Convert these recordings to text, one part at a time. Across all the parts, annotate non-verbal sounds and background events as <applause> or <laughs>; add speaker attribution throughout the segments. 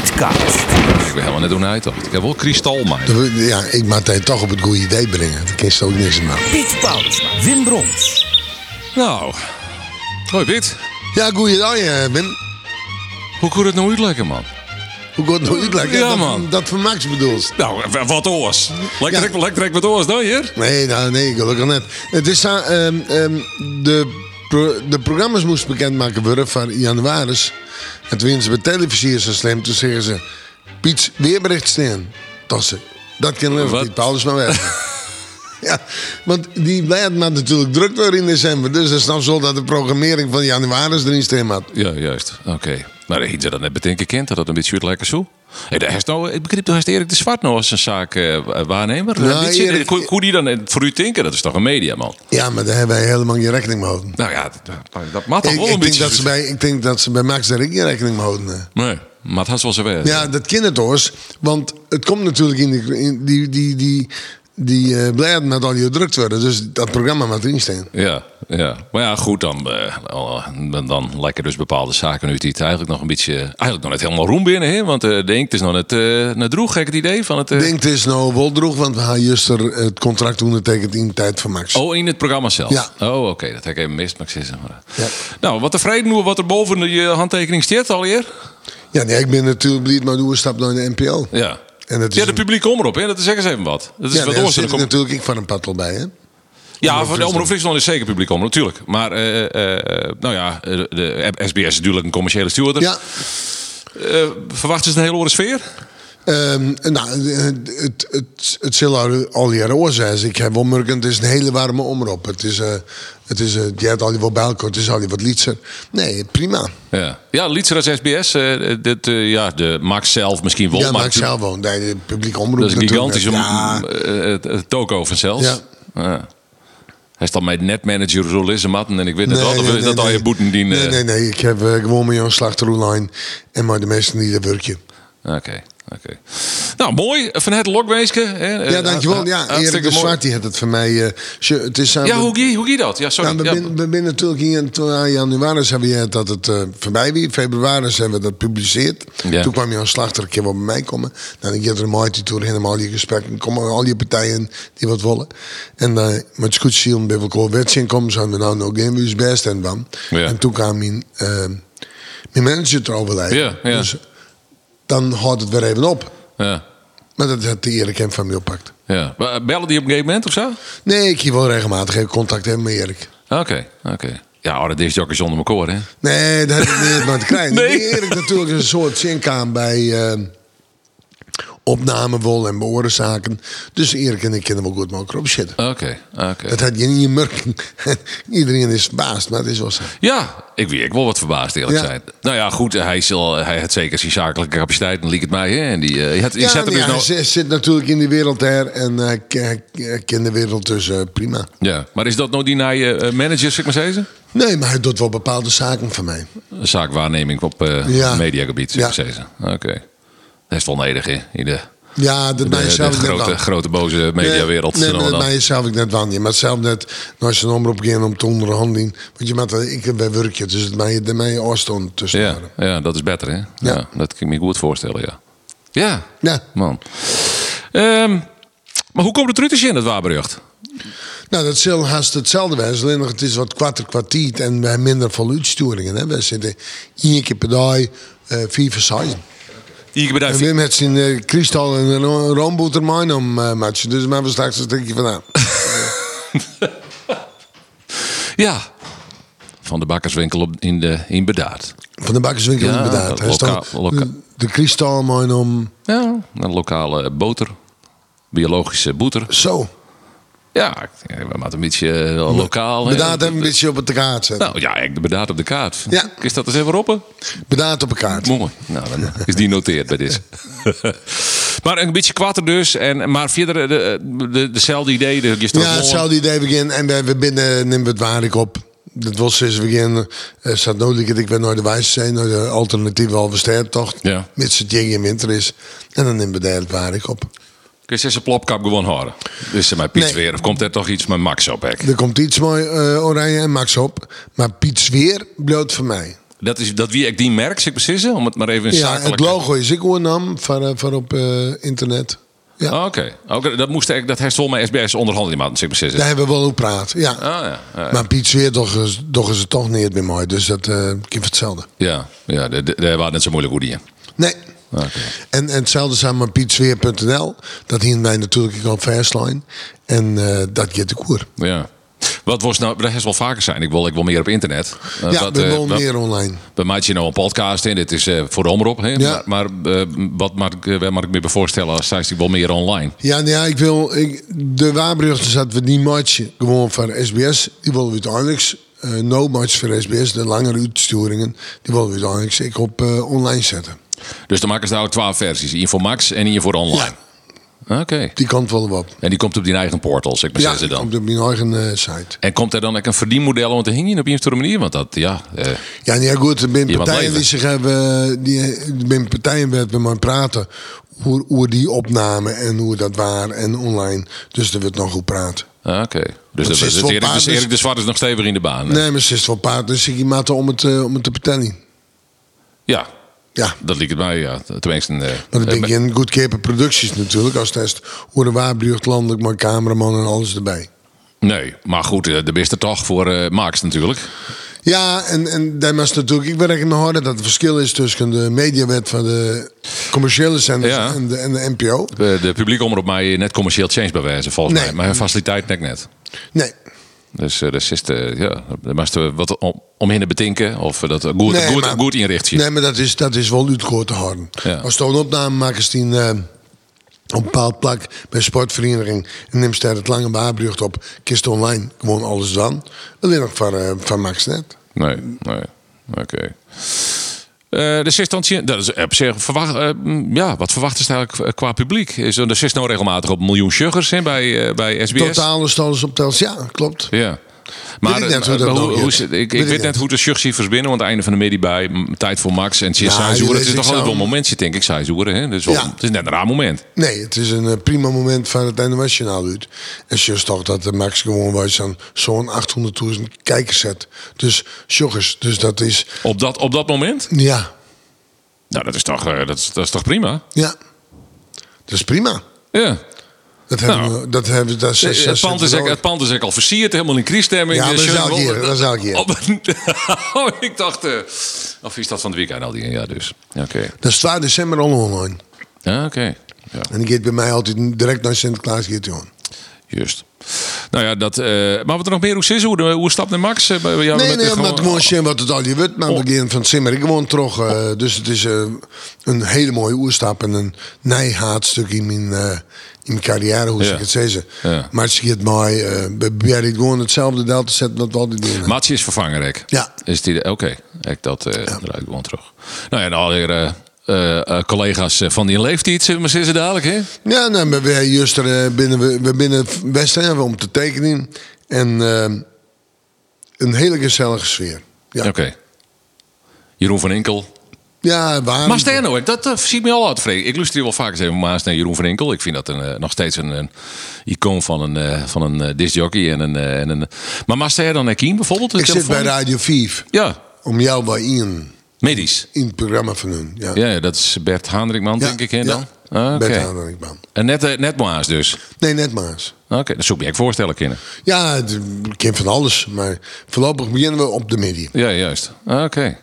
Speaker 1: Pietcast.
Speaker 2: Ik ben helemaal net doen uitdacht. Ik heb wel kristal, maar.
Speaker 3: Ja, ik maak het toch op het goede idee brengen. Dan kun je ook niks aan maken.
Speaker 1: Piet Paulusma, Wim Brons.
Speaker 2: Nou. Hoi Piet.
Speaker 3: Ja, goeie dag, eh, Ben.
Speaker 2: Hoe kon het nou uitlekken, man?
Speaker 3: Hoe gaat het nou uitleggen?
Speaker 2: Ja,
Speaker 3: Dat-
Speaker 2: man.
Speaker 3: Dat van Max bedoelt.
Speaker 2: Nou, w- wat oors.
Speaker 3: Ja.
Speaker 2: Lekker ik lekker ik wat oors dan hier.
Speaker 3: Nee, nou, nee, gelukkig net. Het is aan, ehm, ehm, de, pro- de programma's moesten bekendmaken worden van januaris. En toen ze bij televisie is slim, toen zeggen ze... Piet, weerbericht staan. Tossen. Dat kan leven,
Speaker 2: Wat?
Speaker 3: Piet Paulus maar weg.
Speaker 2: <laughs>
Speaker 3: ja, want die blijft maar natuurlijk druk worden in december. Dus dat is dan zo dat de programmering van januaris erin staan had.
Speaker 2: Ja, juist. Oké. Maar heeft ze dat net bedenken kind dat dat een beetje lekker zo? Hey, daar is nou, ik begreep toch Erik de Zwart nou als een zaak eh, wa- waarnemer.
Speaker 3: Nou,
Speaker 2: Nou,
Speaker 3: Erik-
Speaker 2: hoe, hoe die dan eh, voor u denken, dat is toch een mediaman?
Speaker 3: Ja, maar daar hebben wij helemaal geen rekening mee gehouden.
Speaker 2: Nou ja, dat, dat, dat mag toch
Speaker 3: Ik,
Speaker 2: wel een
Speaker 3: ik, denk
Speaker 2: beetje.
Speaker 3: dat ze
Speaker 2: zo-
Speaker 3: bij, ik denk dat ze bij Max daar ook geen rekening mee houden. eh.
Speaker 2: Nee, maar het had wel zijn werk.
Speaker 3: Ja, dat kinderdoors. Want het komt natuurlijk in die, in die, die, die, die eh, bladen met al je drukt worden. Dus dat programma moet erin staan.
Speaker 2: Ja, ja. Maar ja, goed, dan, eh, dan, dan lekker dus bepaalde zaken nu die het eigenlijk nog een beetje... Eigenlijk nog net helemaal roem binnen, hè? Want eh denk, het is nog net, eh net droeg, gek het idee van het... eh,
Speaker 3: Ik denk het is nou wel droeg, want we gaan juster het contract ondertekend in de tijd van Max.
Speaker 2: Oh, in het programma zelf?
Speaker 3: Ja.
Speaker 2: Oh, oké, dat heb ik even mist, maar ik zit er maar.
Speaker 3: Ja.
Speaker 2: Nou, wat tevreden hoe wat er boven je handtekening staat alweer?
Speaker 3: Ja, nee, ik ben natuurlijk blij, maar doe een stap naar de NPO.
Speaker 2: Ja.
Speaker 3: En dat is
Speaker 2: ja, de
Speaker 3: een-
Speaker 2: publieke omroep, hè? Dat is zeg eens even wat. Dat is
Speaker 3: Ja,
Speaker 2: wat
Speaker 3: daar
Speaker 2: oors-
Speaker 3: zit
Speaker 2: kom-
Speaker 3: natuurlijk ik van een patel bij, hè?
Speaker 2: Ja, voor de Omroep Friesland is zeker publiek omroep, natuurlijk. Maar, eh, eh, nou ja, eh, de SBS is natuurlijk een commerciële stuurder.
Speaker 3: Ja.
Speaker 2: Eh, verwachten ze een hele orde sfeer?
Speaker 3: Ehm, nou, het, het, het, het zal al- al jaren oor zijn. Ik heb ommerkend, het is een hele warme omroep. Het is, eh, het is, eh, je hebt al die wat bijlkort, het is al die wat liedser. Nee, prima.
Speaker 2: Ja, ja Lietser als SBS. eh, dit, eh, ja, de Max zelf misschien wel.
Speaker 3: Ja, maar ik
Speaker 2: natuurlijk-
Speaker 3: zelf woon. Nee, de publieke omroep
Speaker 2: Dat is een
Speaker 3: natuurlijk.
Speaker 2: gigantische
Speaker 3: Ja,
Speaker 2: eh, eh, eh, toko van zelfs.
Speaker 3: Ja.
Speaker 2: Ja. Hij is dan mijn netmanager zo Lisse Matten en ik weet het wel. Of is dat al je boeten die...
Speaker 3: Nee,
Speaker 2: eh,
Speaker 3: nee, nee. Ik heb eh, gewoon met Jan Slachter online. En maar de meesten niet, dat werk je.
Speaker 2: Oké, oké. Nou, mooi. Van het Lokweesken. hè. Eh,
Speaker 3: Ja, dankjewel.
Speaker 2: eh,
Speaker 3: Ja,
Speaker 2: hartstikke
Speaker 3: Erik de
Speaker 2: mooi.
Speaker 3: Zwart die had het voor mij. eh, ze- het is aan
Speaker 2: Ja,
Speaker 3: de-
Speaker 2: hoe gie, hoe gie dat? Ja, sorry.
Speaker 3: Nou, we
Speaker 2: Ja,
Speaker 3: zijn we zijn natuurlijk hier in aan januari zijn we het dat het eh, voorbij was. In februari zijn we dat publiceerd.
Speaker 2: Ja.
Speaker 3: Toen kwam Jan Slachter een keer wel bij mij komen. Dan ik had er een mooi tour helemaal je gesprekken. Komen al die partijen die wat willen. En eh met scoot zien bij welke wedstrijd komen, zijn we nou nog geen USB stand van.
Speaker 2: Ja.
Speaker 3: En toen kwam mijn, eh, mijn manager te overlijden.
Speaker 2: Ja, ja.
Speaker 3: Dus dan houdt het weer even op.
Speaker 2: ja,
Speaker 3: Maar dat had de Erik hem van me oppakt.
Speaker 2: ja. Maar Bellen die op een gegeven moment of zo? Oké,
Speaker 3: Nee, ik hier wel regelmatig even contact hebben met Erik.
Speaker 2: oké. Ja, oh, dat is jokken zonder mekaar, hè?
Speaker 3: Nee, dat heb ik niet maar te krijgen.
Speaker 2: Nee.
Speaker 3: Nee. Erik natuurlijk een soort zinkaan bij eh, opnamewol en beoorzaken. Dus Erik en ik kunnen wel goed mogen opzitten.
Speaker 2: Oké, oké.
Speaker 3: Dat had je niet in merken. <laughs> Iedereen is verbaasd, maar het is wel zo.
Speaker 2: Ja, ik weet ik wel wat verbaasd eerlijk
Speaker 3: Ja.
Speaker 2: zijn. Nou ja, goed, hij, zal, hij had zeker zijn zakelijke capaciteit, en liep het mij. Hè? En die, eh, hij had, hij
Speaker 3: Ja,
Speaker 2: zet hem
Speaker 3: nee,
Speaker 2: dus
Speaker 3: hij
Speaker 2: nou-
Speaker 3: zi- zit natuurlijk in die wereld daar en eh, hij ke- hij ke- kent de wereld dus eh, prima.
Speaker 2: ja, maar is dat nou die naar je eh, manager, zeg maar zeggen?
Speaker 3: Nee, maar hij doet wel bepaalde zaken van mij.
Speaker 2: Zaakwaarneming op eh,
Speaker 3: Ja.
Speaker 2: mediagebied, zeg maar
Speaker 3: Ja.
Speaker 2: zeggen. Oké. Dat is wel nedig, hè? In de,
Speaker 3: Ja, dat
Speaker 2: de,
Speaker 3: mij
Speaker 2: de
Speaker 3: zelf net
Speaker 2: grote,
Speaker 3: wel.
Speaker 2: grote boze mediawereld.
Speaker 3: Nee, nee,
Speaker 2: dan
Speaker 3: maar
Speaker 2: wel
Speaker 3: dat
Speaker 2: dan.
Speaker 3: mij zelf ik net van je. Maar zelf net, nou is een omroep gaan om te onderhandelen. Want je maakt dat- ik bij werkje, dus het mij, de mij oorstond tussen.
Speaker 2: ja,
Speaker 3: waren.
Speaker 2: ja, dat is beter, hè? Ja. dat kan ik me goed voorstellen, ja. Ja,
Speaker 3: Ja.
Speaker 2: man. Ehm, maar hoe komt het Rutters in, dat waarberucht?
Speaker 3: Nou, dat zal haast hetzelfde zijn. Alleen nog, het is wat kwarter kwartiet en we hebben minder voluutsturingen. hè. We zitten één keer per dag, eh, vier voor zes.
Speaker 2: Ik bedrijf
Speaker 3: En Wim heeft zijn eh, kristal en een ro- roomboter mijn om eh, matchen. Dus maar we straks een stukje vandaan.
Speaker 2: Ja. Van de bakkerswinkel op, in, de, in Bedaard.
Speaker 3: Van de bakkerswinkel
Speaker 2: Ja,
Speaker 3: inderdaad. Hij
Speaker 2: lokaal-
Speaker 3: staat
Speaker 2: lokaal.
Speaker 3: de kristal mijn om
Speaker 2: Ja, een lokale boter. Biologische boter.
Speaker 3: zo.
Speaker 2: Ja, ik- eh, we maken een beetje eh, lokaal. hè.
Speaker 3: Bedaard hem een beetje op het kaart zetten.
Speaker 2: Nou ja, eigenlijk de Bedaard op de kaart.
Speaker 3: Ja.
Speaker 2: Is dat eens even roppen?
Speaker 3: Bedaard op een kaart.
Speaker 2: Mooi. Nou, dan is die noteerd bij
Speaker 3: <laughs>
Speaker 2: dit. maar een beetje kwater dus. En, maar verder de, de, dezelfde idee. De, je staat
Speaker 3: Ja,
Speaker 2: mooi.
Speaker 3: hetzelfde idee begin. En we, we binnen nemen we het waarlijk op. Dat was sinds het begin. eh staat nodig dat ik weer naar de wijze zijn. Naar de alternatieve halve sterrentocht.
Speaker 2: Ja.
Speaker 3: Mits het jing in winter is. En dan nemen we daar het waarlijk op.
Speaker 2: Kun je zijn plopkap gewoon horen? Dus eh, mijn Piet
Speaker 3: Nee.
Speaker 2: weer. Of komt er toch iets met Max op? hek?
Speaker 3: Er komt iets mooi eh, oranje en Max op. Maar Piet Zweer bloot voor mij.
Speaker 2: Dat, is, dat wie ik die merk, zeg ik precies, om het maar even in
Speaker 3: Ja,
Speaker 2: zakelijk...
Speaker 3: het logo is ik oornam van, eh, van op eh, internet. Ja,
Speaker 2: Ah, Oké, Oké, dat moest ik, dat heeft vol met SBS onderhandelingen, zeg ik precies.
Speaker 3: daar hebben we wel over praat. Ja.
Speaker 2: Ah ja, ja.
Speaker 3: Maar Piet Zweer toch, is- toch is het toch niet meer mooi. Dus dat eh ik hetzelfde.
Speaker 2: ja, ja, daar daar waren het net zo moeilijk hoe die. hè.
Speaker 3: Nee.
Speaker 2: Oké.
Speaker 3: En, en hetzelfde samen met pietsweer.nl. Dat hielden wij natuurlijk ook op Versline. En eh, dat je de koer.
Speaker 2: Ja. Wat was nou, dat is wel vaker zijn. Ik wil, ik wil meer op internet. Eh,
Speaker 3: ja,
Speaker 2: wat,
Speaker 3: we
Speaker 2: eh,
Speaker 3: willen
Speaker 2: wat-
Speaker 3: meer online.
Speaker 2: We maken nou een podcast in. Dit is eh, voor de omroep. Hè?
Speaker 3: Ja.
Speaker 2: Maar, maar, eh, wat mag ik, eh, waar mag ik me bij voorstellen als zij wel meer online?
Speaker 3: Ja, nou ja, ik wil. Ik, de Waarbruggen zaten we die match gewoon van SBS. Die willen we uiteindelijk. eh no match voor SBS, de langere uitsturingen. Die willen we uiteindelijk ik op eh, online zetten.
Speaker 2: Dus dan maken ze nou twaalf versies. Eén voor Max en één voor online. Oké.
Speaker 3: Die kant wel op.
Speaker 2: En die komt op die eigen portal, zeg maar
Speaker 3: Ja,
Speaker 2: zeggen ze
Speaker 3: die
Speaker 2: dan.
Speaker 3: komt op mijn eigen eh, site.
Speaker 2: En komt er dan ook een verdienmodel? Want dan hing je op een of andere manier. Want dat, ja. eh,
Speaker 3: Ja, nou ja goed, er zijn
Speaker 2: Je wat
Speaker 3: partijen
Speaker 2: leven.
Speaker 3: die zich hebben. Die, er zijn partijen waar we maar praten. Hoe, hoe die opname en hoe dat waar en online. Dus er wordt nog goed praten.
Speaker 2: Oké. Dus dat,
Speaker 3: ze is
Speaker 2: dat
Speaker 3: wel
Speaker 2: Erik, dus
Speaker 3: paard,
Speaker 2: Erik
Speaker 3: dus-
Speaker 2: de Zwart is nog stevig in de baan. hè?
Speaker 3: Nee, maar ze is wel paard. Dus ik maat om het, eh, om het te vertellen.
Speaker 2: Ja,
Speaker 3: Ja.
Speaker 2: dat liet het mij. Ja. Tenminste. eh,
Speaker 3: Maar dat
Speaker 2: eh,
Speaker 3: denk je in goedkope producties natuurlijk. Als test hoe de waarbrug landelijk, maar cameraman en alles erbij.
Speaker 2: Nee, maar goed, eh, de beste toch voor eh, Max natuurlijk.
Speaker 3: Ja, en, en daar was natuurlijk... Ik werk in mijn harde dat het verschil is tussen de mediawet van de commerciële zenders
Speaker 2: Ja.
Speaker 3: en, de, en de NPO.
Speaker 2: Eh, De publiek omroep mij net commercieel change bewijzen, volgens
Speaker 3: Nee.
Speaker 2: mij. Maar hun faciliteit nek net.
Speaker 3: Nee,
Speaker 2: Dus eh, dat is eh, ja, daar moesten we wat om, omheen te betinken. Of we dat goed,
Speaker 3: Nee,
Speaker 2: goed,
Speaker 3: maar-
Speaker 2: goed inrichten.
Speaker 3: nee maar dat is, dat is wel uitgehoord te houden.
Speaker 2: Ja.
Speaker 3: Als toch een opname maken is die eh, op een bepaald plak bij een sportvereniging... en neemt daar het lange waarbrug op, kist online gewoon alles dan. Alleen nog van, eh, van Max Net.
Speaker 2: Nee, nee. Oké. Eh, de sextantje, dat is op zich verwacht. eh, mm, ja, wat verwachten ze eigenlijk eh, qua publiek? Is er de zes nou regelmatig op een miljoen sugars hè, bij, eh, bij SBS?
Speaker 3: Totaal is het alles op tels. Ja, klopt.
Speaker 2: Ja. Maar
Speaker 3: Weet ik
Speaker 2: eh,
Speaker 3: net hoe
Speaker 2: eh,
Speaker 3: dat
Speaker 2: hoe,
Speaker 3: nog
Speaker 2: hoe
Speaker 3: is.
Speaker 2: ze- ik, ik
Speaker 3: Weet
Speaker 2: weet
Speaker 3: ik
Speaker 2: net
Speaker 3: net.
Speaker 2: hoe de suggestie verbinden, want het einde van de middag bij m, tijd voor Max en CSI
Speaker 3: Ja,
Speaker 2: Zoeren.
Speaker 3: die
Speaker 2: Het
Speaker 3: lees
Speaker 2: is
Speaker 3: ik
Speaker 2: toch altijd
Speaker 3: zo.
Speaker 2: wel een momentje, denk ik, CSI Zoeren. hè? Dat is wel-
Speaker 3: Ja.
Speaker 2: Het is net een raar moment.
Speaker 3: Nee, het is een eh, prima moment van het internationaal uit. En je toch dat de Max gewoon was aan zo'n 800.000 kijkers zet. Dus joggers, dus dat is...
Speaker 2: Op dat, op dat moment?
Speaker 3: Ja,
Speaker 2: Nou, dat is toch, eh, dat is, dat is toch prima?
Speaker 3: ja. Dat is prima.
Speaker 2: Ja.
Speaker 3: Dat hebben we... Dat hebben we dat is,
Speaker 2: Eh, Nou. Het pand, is ook, het pand is ook al versierd, helemaal in kriesstemming.
Speaker 3: Ja,
Speaker 2: Eh,
Speaker 3: dat is
Speaker 2: Sjoerd
Speaker 3: elk
Speaker 2: Wolde-
Speaker 3: jaar, dat is elk jaar.
Speaker 2: Op <laughs> oh, ik dacht... eh, of is dat van het weekend al die? Ja, dus. Oké.
Speaker 3: dat is 2 december al online.
Speaker 2: Ja, oké. Ja.
Speaker 3: En die gaat bij mij altijd direct naar Sinterklaas. Gaat die aan.
Speaker 2: Juist. Nou ja, dat. eh, maar wat er nog meer hoe is, hoe, de- hoe stapt de Max? eh, bij jou
Speaker 3: Nee,
Speaker 2: met
Speaker 3: nee,
Speaker 2: de
Speaker 3: omdat
Speaker 2: gewoon- Oh.
Speaker 3: het gewoon zien wat het al je wordt. Maar we gaan van het simmer ik gewoon terug. eh, dus het is eh, een hele mooie oerstap en een nijhaatstuk in mijn, eh, in mijn carrière, hoe
Speaker 2: Ja.
Speaker 3: zeg ik het zeggen.
Speaker 2: Ja.
Speaker 3: Maar het is het mooi. eh, we proberen gewoon hetzelfde deel te zetten wat we altijd doen.
Speaker 2: Matje is vervanger, Rick.
Speaker 3: Ja.
Speaker 2: Is die de- Oké, ik dat eh draai ik gewoon terug. Nou ja, en al die eh, eh, eh, collega's eh, van die leeftijd, zullen we maar zeggen dadelijk, hè?
Speaker 3: Ja, nou, maar we juist er, eh, binnen, we- we binnen Westhaven om te tekenen. En eh, een hele gezellige sfeer. Ja,
Speaker 2: Oké. Jeroen van Enkel.
Speaker 3: ja waar.
Speaker 2: Maar Sterno, ik- dat eh, ziet me al uit, Freek. Ik luister hier wel vaak eens even Maas naar Jeroen van Enkel. Ik vind dat een, eh, nog steeds een, een icoon van een, eh, van een eh, discjockey. En een, eh, en een... Maar Master dan Kim bijvoorbeeld? de
Speaker 3: ik zit bij
Speaker 2: telefoon?
Speaker 3: Radio 5
Speaker 2: Ja,
Speaker 3: om jou bij in,
Speaker 2: medisch.
Speaker 3: in het programma van hun. Ja.
Speaker 2: Ja, ja, dat is Bert Haandrikman, denk ik. Hè, dan?
Speaker 3: Ja.
Speaker 2: Ah, Oké.
Speaker 3: Bert Hanenkman.
Speaker 2: En net, eh, net Maas dus.
Speaker 3: Nee, net Maas.
Speaker 2: Oké, dat zou je ik voorstellen kunnen.
Speaker 3: Ja, het- ik ken van alles. Maar voorlopig beginnen we op de medium.
Speaker 2: Ja, juist. Ah, Oké.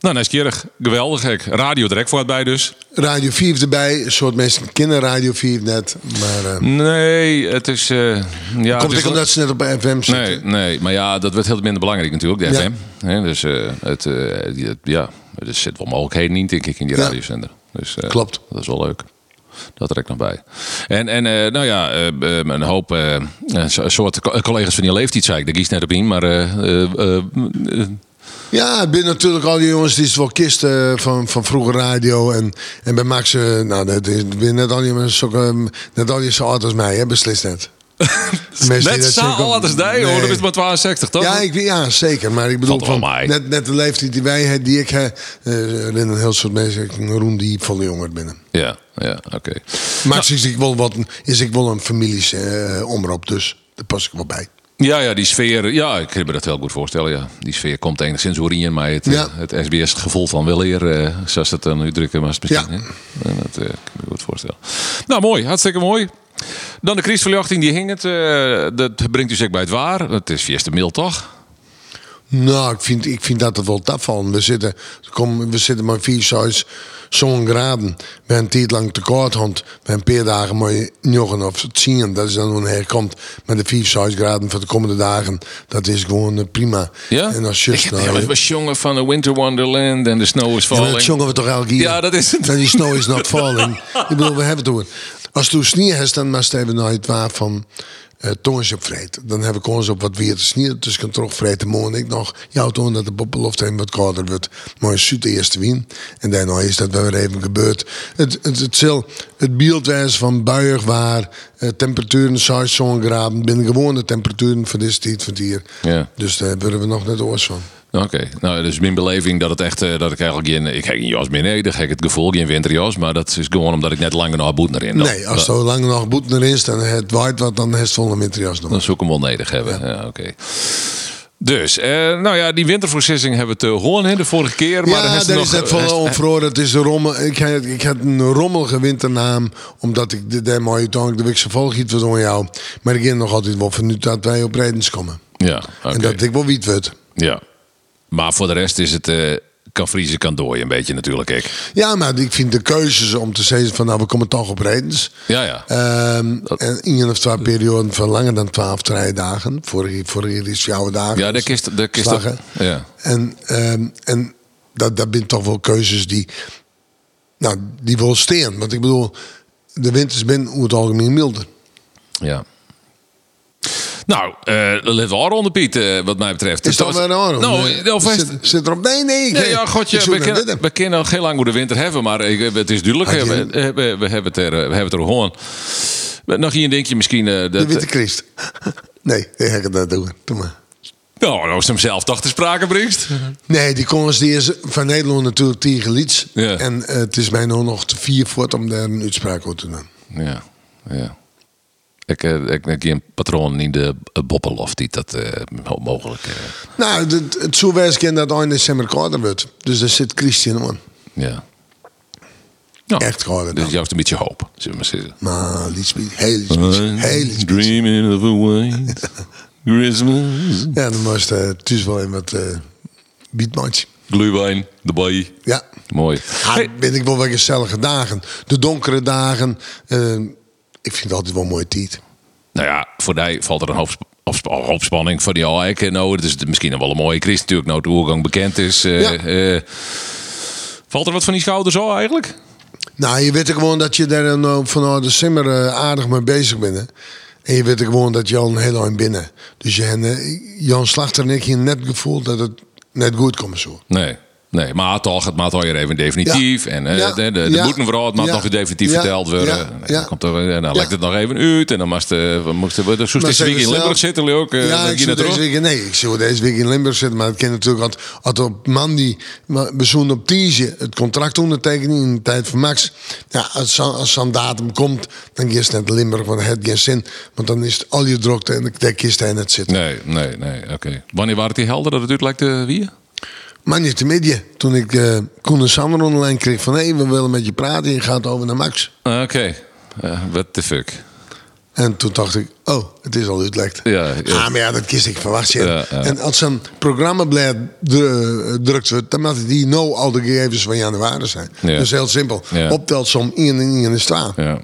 Speaker 2: Nou, nieuwsgierig. Geweldig gek. Radio direct voor het bij dus.
Speaker 3: Radio 4 erbij. Een soort mensen kennen Radio 4 net. Maar eh,
Speaker 2: Nee, het is... eh, ja, het
Speaker 3: komt
Speaker 2: is
Speaker 3: ik omdat ze net op FM zitten.
Speaker 2: Nee, nee, maar ja, dat werd heel minder belangrijk natuurlijk, de
Speaker 3: Ja.
Speaker 2: FM. Hè, dus eh, het, eh, die- het- ja, er zit wel mogelijkheden in, denk ik, in die
Speaker 3: Ja.
Speaker 2: radiozender. Dus, eh,
Speaker 3: Klopt.
Speaker 2: Dat is wel leuk. Dat trek ik nog bij. En, en eh, nou ja, eh, eh, een hoop eh, een so- soort co- collega's van die leeftijd, zei ik. Daar kies net op in, maar... eh, eh, eh, eh,
Speaker 3: Ja, het zijn natuurlijk al die jongens die is wel kisten van, van vroeger radio. En, en bij Max, eh, nou, dat is het zijn net al die mensen, ook, eh, net al die zo oud als mij, hè,
Speaker 2: <laughs>
Speaker 3: beslist net. De mensen die
Speaker 2: net
Speaker 3: dat
Speaker 2: zo
Speaker 3: zeggen,
Speaker 2: oud als die, hoor.
Speaker 3: nee.
Speaker 2: Dat is maar 62, toch?
Speaker 3: Ja, ik, ja, zeker. Maar ik bedoel,
Speaker 2: Valt wel
Speaker 3: van,
Speaker 2: mee.
Speaker 3: net, net de leeftijd die wij hebben, die ik heb. eh, er zijn een heel soort mensen, ik roem die volle jonger binnen.
Speaker 2: Ja, ja, oké.
Speaker 3: Maar is, ik wel wat, is ik wel een families eh, omroep, dus daar pas ik wel bij.
Speaker 2: Ja, ja, die sfeer. Ja, ik kan me dat heel goed voorstellen. Ja. Die sfeer komt enigszins orien, maar het,
Speaker 3: Ja.
Speaker 2: eh, het SBS-gevoel van wel eer, eh, zoals dat dan uitdrukken, maar het misschien.
Speaker 3: Ja.
Speaker 2: hè? En dat eh, kan ik me goed voorstellen. Nou, mooi, hartstikke mooi. Dan de Christverjachting, die hing het. eh, dat brengt u zeker bij het waar. Het is 4 mil, toch?
Speaker 3: Nou, ik vind, ik vind dat het wel taf van. We zitten, kom, we zitten maar vier, zes, zo'n graden. We hebben een tijd lang tekort gehad. We hebben een paar dagen maar joggen of het zien. Dat is dan hoe het komt. Met de vier, zes graden voor de komende dagen. Dat is gewoon eh, prima.
Speaker 2: Ja?
Speaker 3: En als je
Speaker 2: Ik heb heel even jongen van de Winter Wonderland en de Snow is
Speaker 3: ja, maar dat
Speaker 2: Falling.
Speaker 3: zongen we toch elke keer?
Speaker 2: Ja, dat is het.
Speaker 3: Dat die snow is
Speaker 2: <laughs>
Speaker 3: not falling. ik bedoel, we hebben het over. Als toen sneeuw is, dan moest even naar het waar van eh tongens op vreten. Dan heb ik ons op wat weer te sneeuw. Dus ik kan toch vreten morgen ik nog. Jouw toon dat de poppeloft heen wat kouder wordt. Maar is het eerste wien. En daarna is dat wel weer even gebeurd. Het, het, het, zal- het beeld wijzen van buiig waar. eh, temperaturen, 6 zo'n graden. Binnen gewone temperaturen van dit tijd van het hier.
Speaker 2: Ja.
Speaker 3: Dus daar willen we nog net oors van.
Speaker 2: Oké, nou, dus mijn beleving dat het echt, eh, dat ik eigenlijk geen, ik heb geen jas meer nee, dan heb ik het gevoel, geen winterjas, maar dat is gewoon omdat ik net langer naar boet in.
Speaker 3: nee, als er lang nog boet naar is en het waait wat, dan heeft het volle materiaal nog.
Speaker 2: Dan zoek hem wel nodig hebben. Ja. oké. Dus, eh, nou ja, die winterprocessing hebben we te horen hè, de vorige keer. Maar
Speaker 3: ja,
Speaker 2: dan
Speaker 3: dat
Speaker 2: is er nog,
Speaker 3: is net
Speaker 2: eh, <laughs>
Speaker 3: vooral
Speaker 2: rest-
Speaker 3: onvroren. Het is een rommel. Ik had, ik had een rommelige winternaam. Omdat ik de, de mooie toon, de weekse volgiet was aan jou. Maar ik ging nog altijd wel van nu dat wij op redens komen.
Speaker 2: Ja, oké.
Speaker 3: En dat ik wel wiet werd.
Speaker 2: ja. Maar voor de rest is het, eh, kan vriezen, kan dooien een beetje natuurlijk. Ik.
Speaker 3: Ja, maar ik vind de keuzes om te zeggen van nou, we komen toch op redens.
Speaker 2: Ja, ja.
Speaker 3: Ehm, En één of twee perioden van langer dan twaalf dagen. Vorige, vorige keer is jouw dagen. dus
Speaker 2: ja, daar kist, daar kist
Speaker 3: Slagen.
Speaker 2: Ja.
Speaker 3: En, ehm, en dat, dat zijn toch wel keuzes die, nou, die wel steen. Want ik bedoel, de winters zijn over het algemeen milder.
Speaker 2: Ja. Nou, eh laten we rond Piet, eh, wat mij betreft.
Speaker 3: Is dat
Speaker 2: was-
Speaker 3: wel een oorlog?
Speaker 2: Nou, of is-
Speaker 3: zit, zit erop? Nee, nee. ik-
Speaker 2: Nee, ja, godje,
Speaker 3: ik zoek
Speaker 2: we
Speaker 3: naar
Speaker 2: kunnen,
Speaker 3: Willem.
Speaker 2: we kunnen nog heel lang over de winter hebben, maar ik, eh, het is duidelijk.
Speaker 3: Had
Speaker 2: hè,
Speaker 3: je-
Speaker 2: We, eh, we, we hebben het er, eh, we hebben het er gewoon. Nog hier denk je misschien eh, dat.
Speaker 3: De Witte Christ. <laughs> nee, ik ga het dat doen. Doe maar.
Speaker 2: Nou, als hem zelf toch te sprake brengt.
Speaker 3: Nee, die Collins die is van Nederland natuurlijk tegen Lieds.
Speaker 2: Ja.
Speaker 3: En eh, het is mij nou nog te vier voort om daar een uitspraak over te doen.
Speaker 2: Ja, ja. Ik, eh, ik, ik zie een patroon in de eh, Boppelof die dat eh, mo- mogelijk. eh,
Speaker 3: Nou, het, het zou wel eens kunnen dat 1 december kouder wordt. Dus daar zit Christian aan.
Speaker 2: ja. Nou,
Speaker 3: Echt kouder
Speaker 2: Dus
Speaker 3: dan.
Speaker 2: juist een beetje hoop, zullen we maar zeggen.
Speaker 3: Maar Lieds, heel Lieds, heel Lieds.
Speaker 2: Dreaming of a white
Speaker 3: <laughs>
Speaker 2: Christmas.
Speaker 3: Ja, dan moest eh thuis wel in wat eh beatmatch.
Speaker 2: Glühwein, erbij.
Speaker 3: Ja.
Speaker 2: Mooi.
Speaker 3: Ah,
Speaker 2: Hey,
Speaker 3: ben ik wel weer gezellige dagen. De donkere dagen. eh, ik vind het altijd wel een mooie tijd.
Speaker 2: Nou ja, voor die valt er een hoop, sp- hoop, sp- hoop spanning voor die al eiken. Nou, het is misschien nog wel een mooie Chris natuurlijk. Nou, de oorgang bekend is. eh,
Speaker 3: Ja.
Speaker 2: eh, valt er wat van die schouders al eigenlijk?
Speaker 3: Nou, je weet ook gewoon dat je daar nou vanuit de simmer eh, aardig mee bezig bent. hè. En je weet ook gewoon dat je al een heel eind binnen. Dus je, en, eh, Jan Slachter en ik hier net gevoeld dat het net goed komt zo.
Speaker 2: Nee. Nee, maar toch, het maakt al hier even definitief.
Speaker 3: Ja.
Speaker 2: En eh,
Speaker 3: Ja.
Speaker 2: de, de, de
Speaker 3: Ja.
Speaker 2: boeten vooral, het maakt
Speaker 3: Ja.
Speaker 2: nog weer definitief
Speaker 3: Ja.
Speaker 2: verteld worden.
Speaker 3: Ja.
Speaker 2: Nee,
Speaker 3: Ja.
Speaker 2: dan komt er, en dan
Speaker 3: Ja.
Speaker 2: lekt het nog even uit. En dan moesten we, moesten we de Soest
Speaker 3: Maar
Speaker 2: deze week in
Speaker 3: zeggen ze
Speaker 2: Limburg
Speaker 3: zelf-
Speaker 2: zitten. jullie Ook, eh,
Speaker 3: ja,
Speaker 2: dan
Speaker 3: ik
Speaker 2: ging
Speaker 3: zou
Speaker 2: het
Speaker 3: deze
Speaker 2: erop.
Speaker 3: week, nee, ik zou deze week in Limburg zitten. Maar het kan natuurlijk altijd, altijd op man die bezoen op Tiesje het contract ondertekenen in de tijd van Max. Ja, als, zo- als zo'n datum komt, dan kiest net Limburg, want het heeft geen zin. Want dan is het al je drukte en daar kiest hij net zitten.
Speaker 2: Nee, nee, nee. Oké. Wanneer waren het die helder dat het uit lijkt te wie?
Speaker 3: Maar niet te midden. Toen ik eh Koen en Sander on de lijn kreeg van hé, we willen met je praten, je gaat over naar Max.
Speaker 2: Oké. Eh, what the fuck.
Speaker 3: En toen dacht ik, oh, het is al uitlekt.
Speaker 2: Ja, ja.
Speaker 3: Ah, maar ja, dat kies ik verwacht. Ja.
Speaker 2: Ja, ja.
Speaker 3: En als een programma blijft dru- eh, drukt wordt, dan moet die nou al de gegevens van januari zijn.
Speaker 2: Ja.
Speaker 3: Dus heel simpel.
Speaker 2: Ja.
Speaker 3: Optelt som 1 en 1 is 12.
Speaker 2: Ja.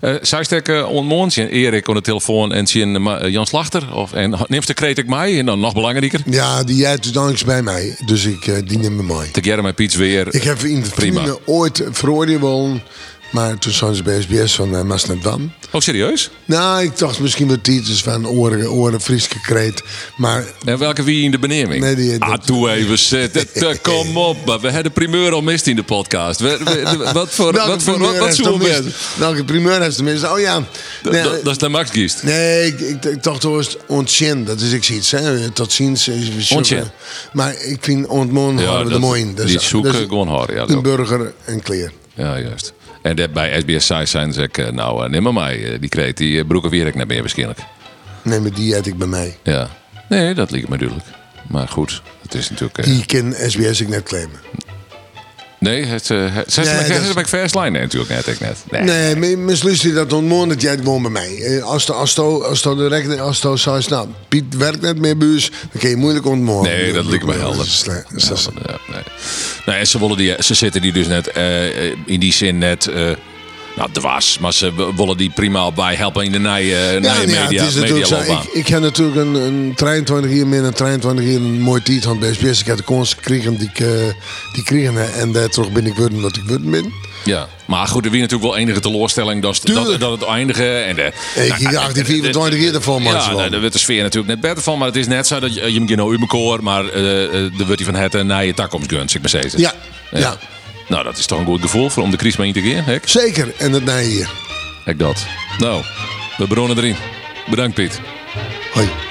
Speaker 2: Uh, Zijstek uh, Erik aan de telefoon en zien eh, Ma- eh, Jan Slachter. Of, en neemt de kreet ik mij. En dan nog belangrijker.
Speaker 3: Ja, die jij uiteindelijk bij mij. Dus ik, eh, die neem me mee.
Speaker 2: Te Germa Piets weer.
Speaker 3: Ik heb in de
Speaker 2: Prima.
Speaker 3: vrienden ooit veroordeeld willen. Maar toen zijn ze bij SBS van uh, Masnet Dam.
Speaker 2: Oh, serieus?
Speaker 3: Nou, ik dacht misschien wat titels van oren, oren Frieske kreet. Maar
Speaker 2: En welke wie in de beneming?
Speaker 3: Nee, die-
Speaker 2: ah,
Speaker 3: dat-
Speaker 2: toe even
Speaker 3: <laughs>
Speaker 2: zitten. Te- Kom op. maar We hebben de primeur al mist in de podcast. We- we- de- wat voor...
Speaker 3: welke
Speaker 2: wat voor...
Speaker 3: Nou,
Speaker 2: Wat,
Speaker 3: primeur
Speaker 2: wat
Speaker 3: heeft
Speaker 2: zoeken we
Speaker 3: tenminste-
Speaker 2: met?
Speaker 3: Welke primeur heeft tenminste? Oh ja. Nee,
Speaker 2: Dat- Dat is de Max Giest.
Speaker 3: Nee, ik, ik, ik dacht hoor, ontzien. Dat is ik zoiets. Hè. Tot ziens. eh, we zoeken.
Speaker 2: Ontzien.
Speaker 3: Maar ik vind ontmoen
Speaker 2: Ja,
Speaker 3: hadden we
Speaker 2: dat-
Speaker 3: er mooi in. dus
Speaker 2: die zoeken gewoon hard, ja, dat
Speaker 3: Een
Speaker 2: ook.
Speaker 3: burger en kleer.
Speaker 2: Ja, juist. En dat bij SBS Size zijn ze ik, eh, nou, eh, neem maar mij. eh, Die kreet, die eh, broeken weer ik net meer waarschijnlijk.
Speaker 3: Nee, maar die eet ik bij mij.
Speaker 2: Ja. Nee, dat lijkt me duidelijk. Maar goed, het is natuurlijk... eh,
Speaker 3: Die kan SBS ik net claimen.
Speaker 2: nee, het, eh het, zes
Speaker 3: Nee,
Speaker 2: nee,
Speaker 3: dat is-
Speaker 2: ik first line nee, natuurlijk net. Ik net. Nee.
Speaker 3: Nee, maar misschien is dat ontmoord dat jij het gewoon bij mij. Eh, Als de als de- als de direct als de zou nou, Piet werkt net meer buurs, dan kun je moeilijk ontmoorden.
Speaker 2: Nee, dat lijkt me helder.
Speaker 3: is sle- is dat-
Speaker 2: Ja, nee. Nou, en ze, willen die, ze zitten die dus net eh, eh, in die zin net. eh nou, dwars, maar ze w- willen die prima bij helpen in de nije,
Speaker 3: Ja,
Speaker 2: nije
Speaker 3: nou ja,
Speaker 2: media,
Speaker 3: het is natuurlijk zo.
Speaker 2: medialoopbaan.
Speaker 3: Ik, ik heb natuurlijk een, een 23 hier min en 23 hier een mooi tijd van SBS. Dus Ik heb de kans gekregen die ik eh, die kregen. En daardoor ben ik worden dat ik worden ben.
Speaker 2: Ja. Maar goed, er wie natuurlijk wel enige teleurstelling dat, dat,
Speaker 3: Tuurlijk.
Speaker 2: dat het eindigen. En de,
Speaker 3: Eh, Ik
Speaker 2: Nou,
Speaker 3: dacht, die 24 hier ervoor, man.
Speaker 2: Ja, nou, daar wordt de sfeer natuurlijk net beter van. Maar het is net zo dat je je hem geen Uberkoor, maar eh eh, dan wordt hij van het eh, naar je takkomst guns, ik maar steeds.
Speaker 3: Ja, ja.
Speaker 2: Nou, dat is toch een goed gevoel voor om de crisis mee in te gaan, hè?
Speaker 3: Zeker. En dat na hier.
Speaker 2: Hek dat. Nou, we bronnen erin. Bedankt, Piet.
Speaker 3: Hoi.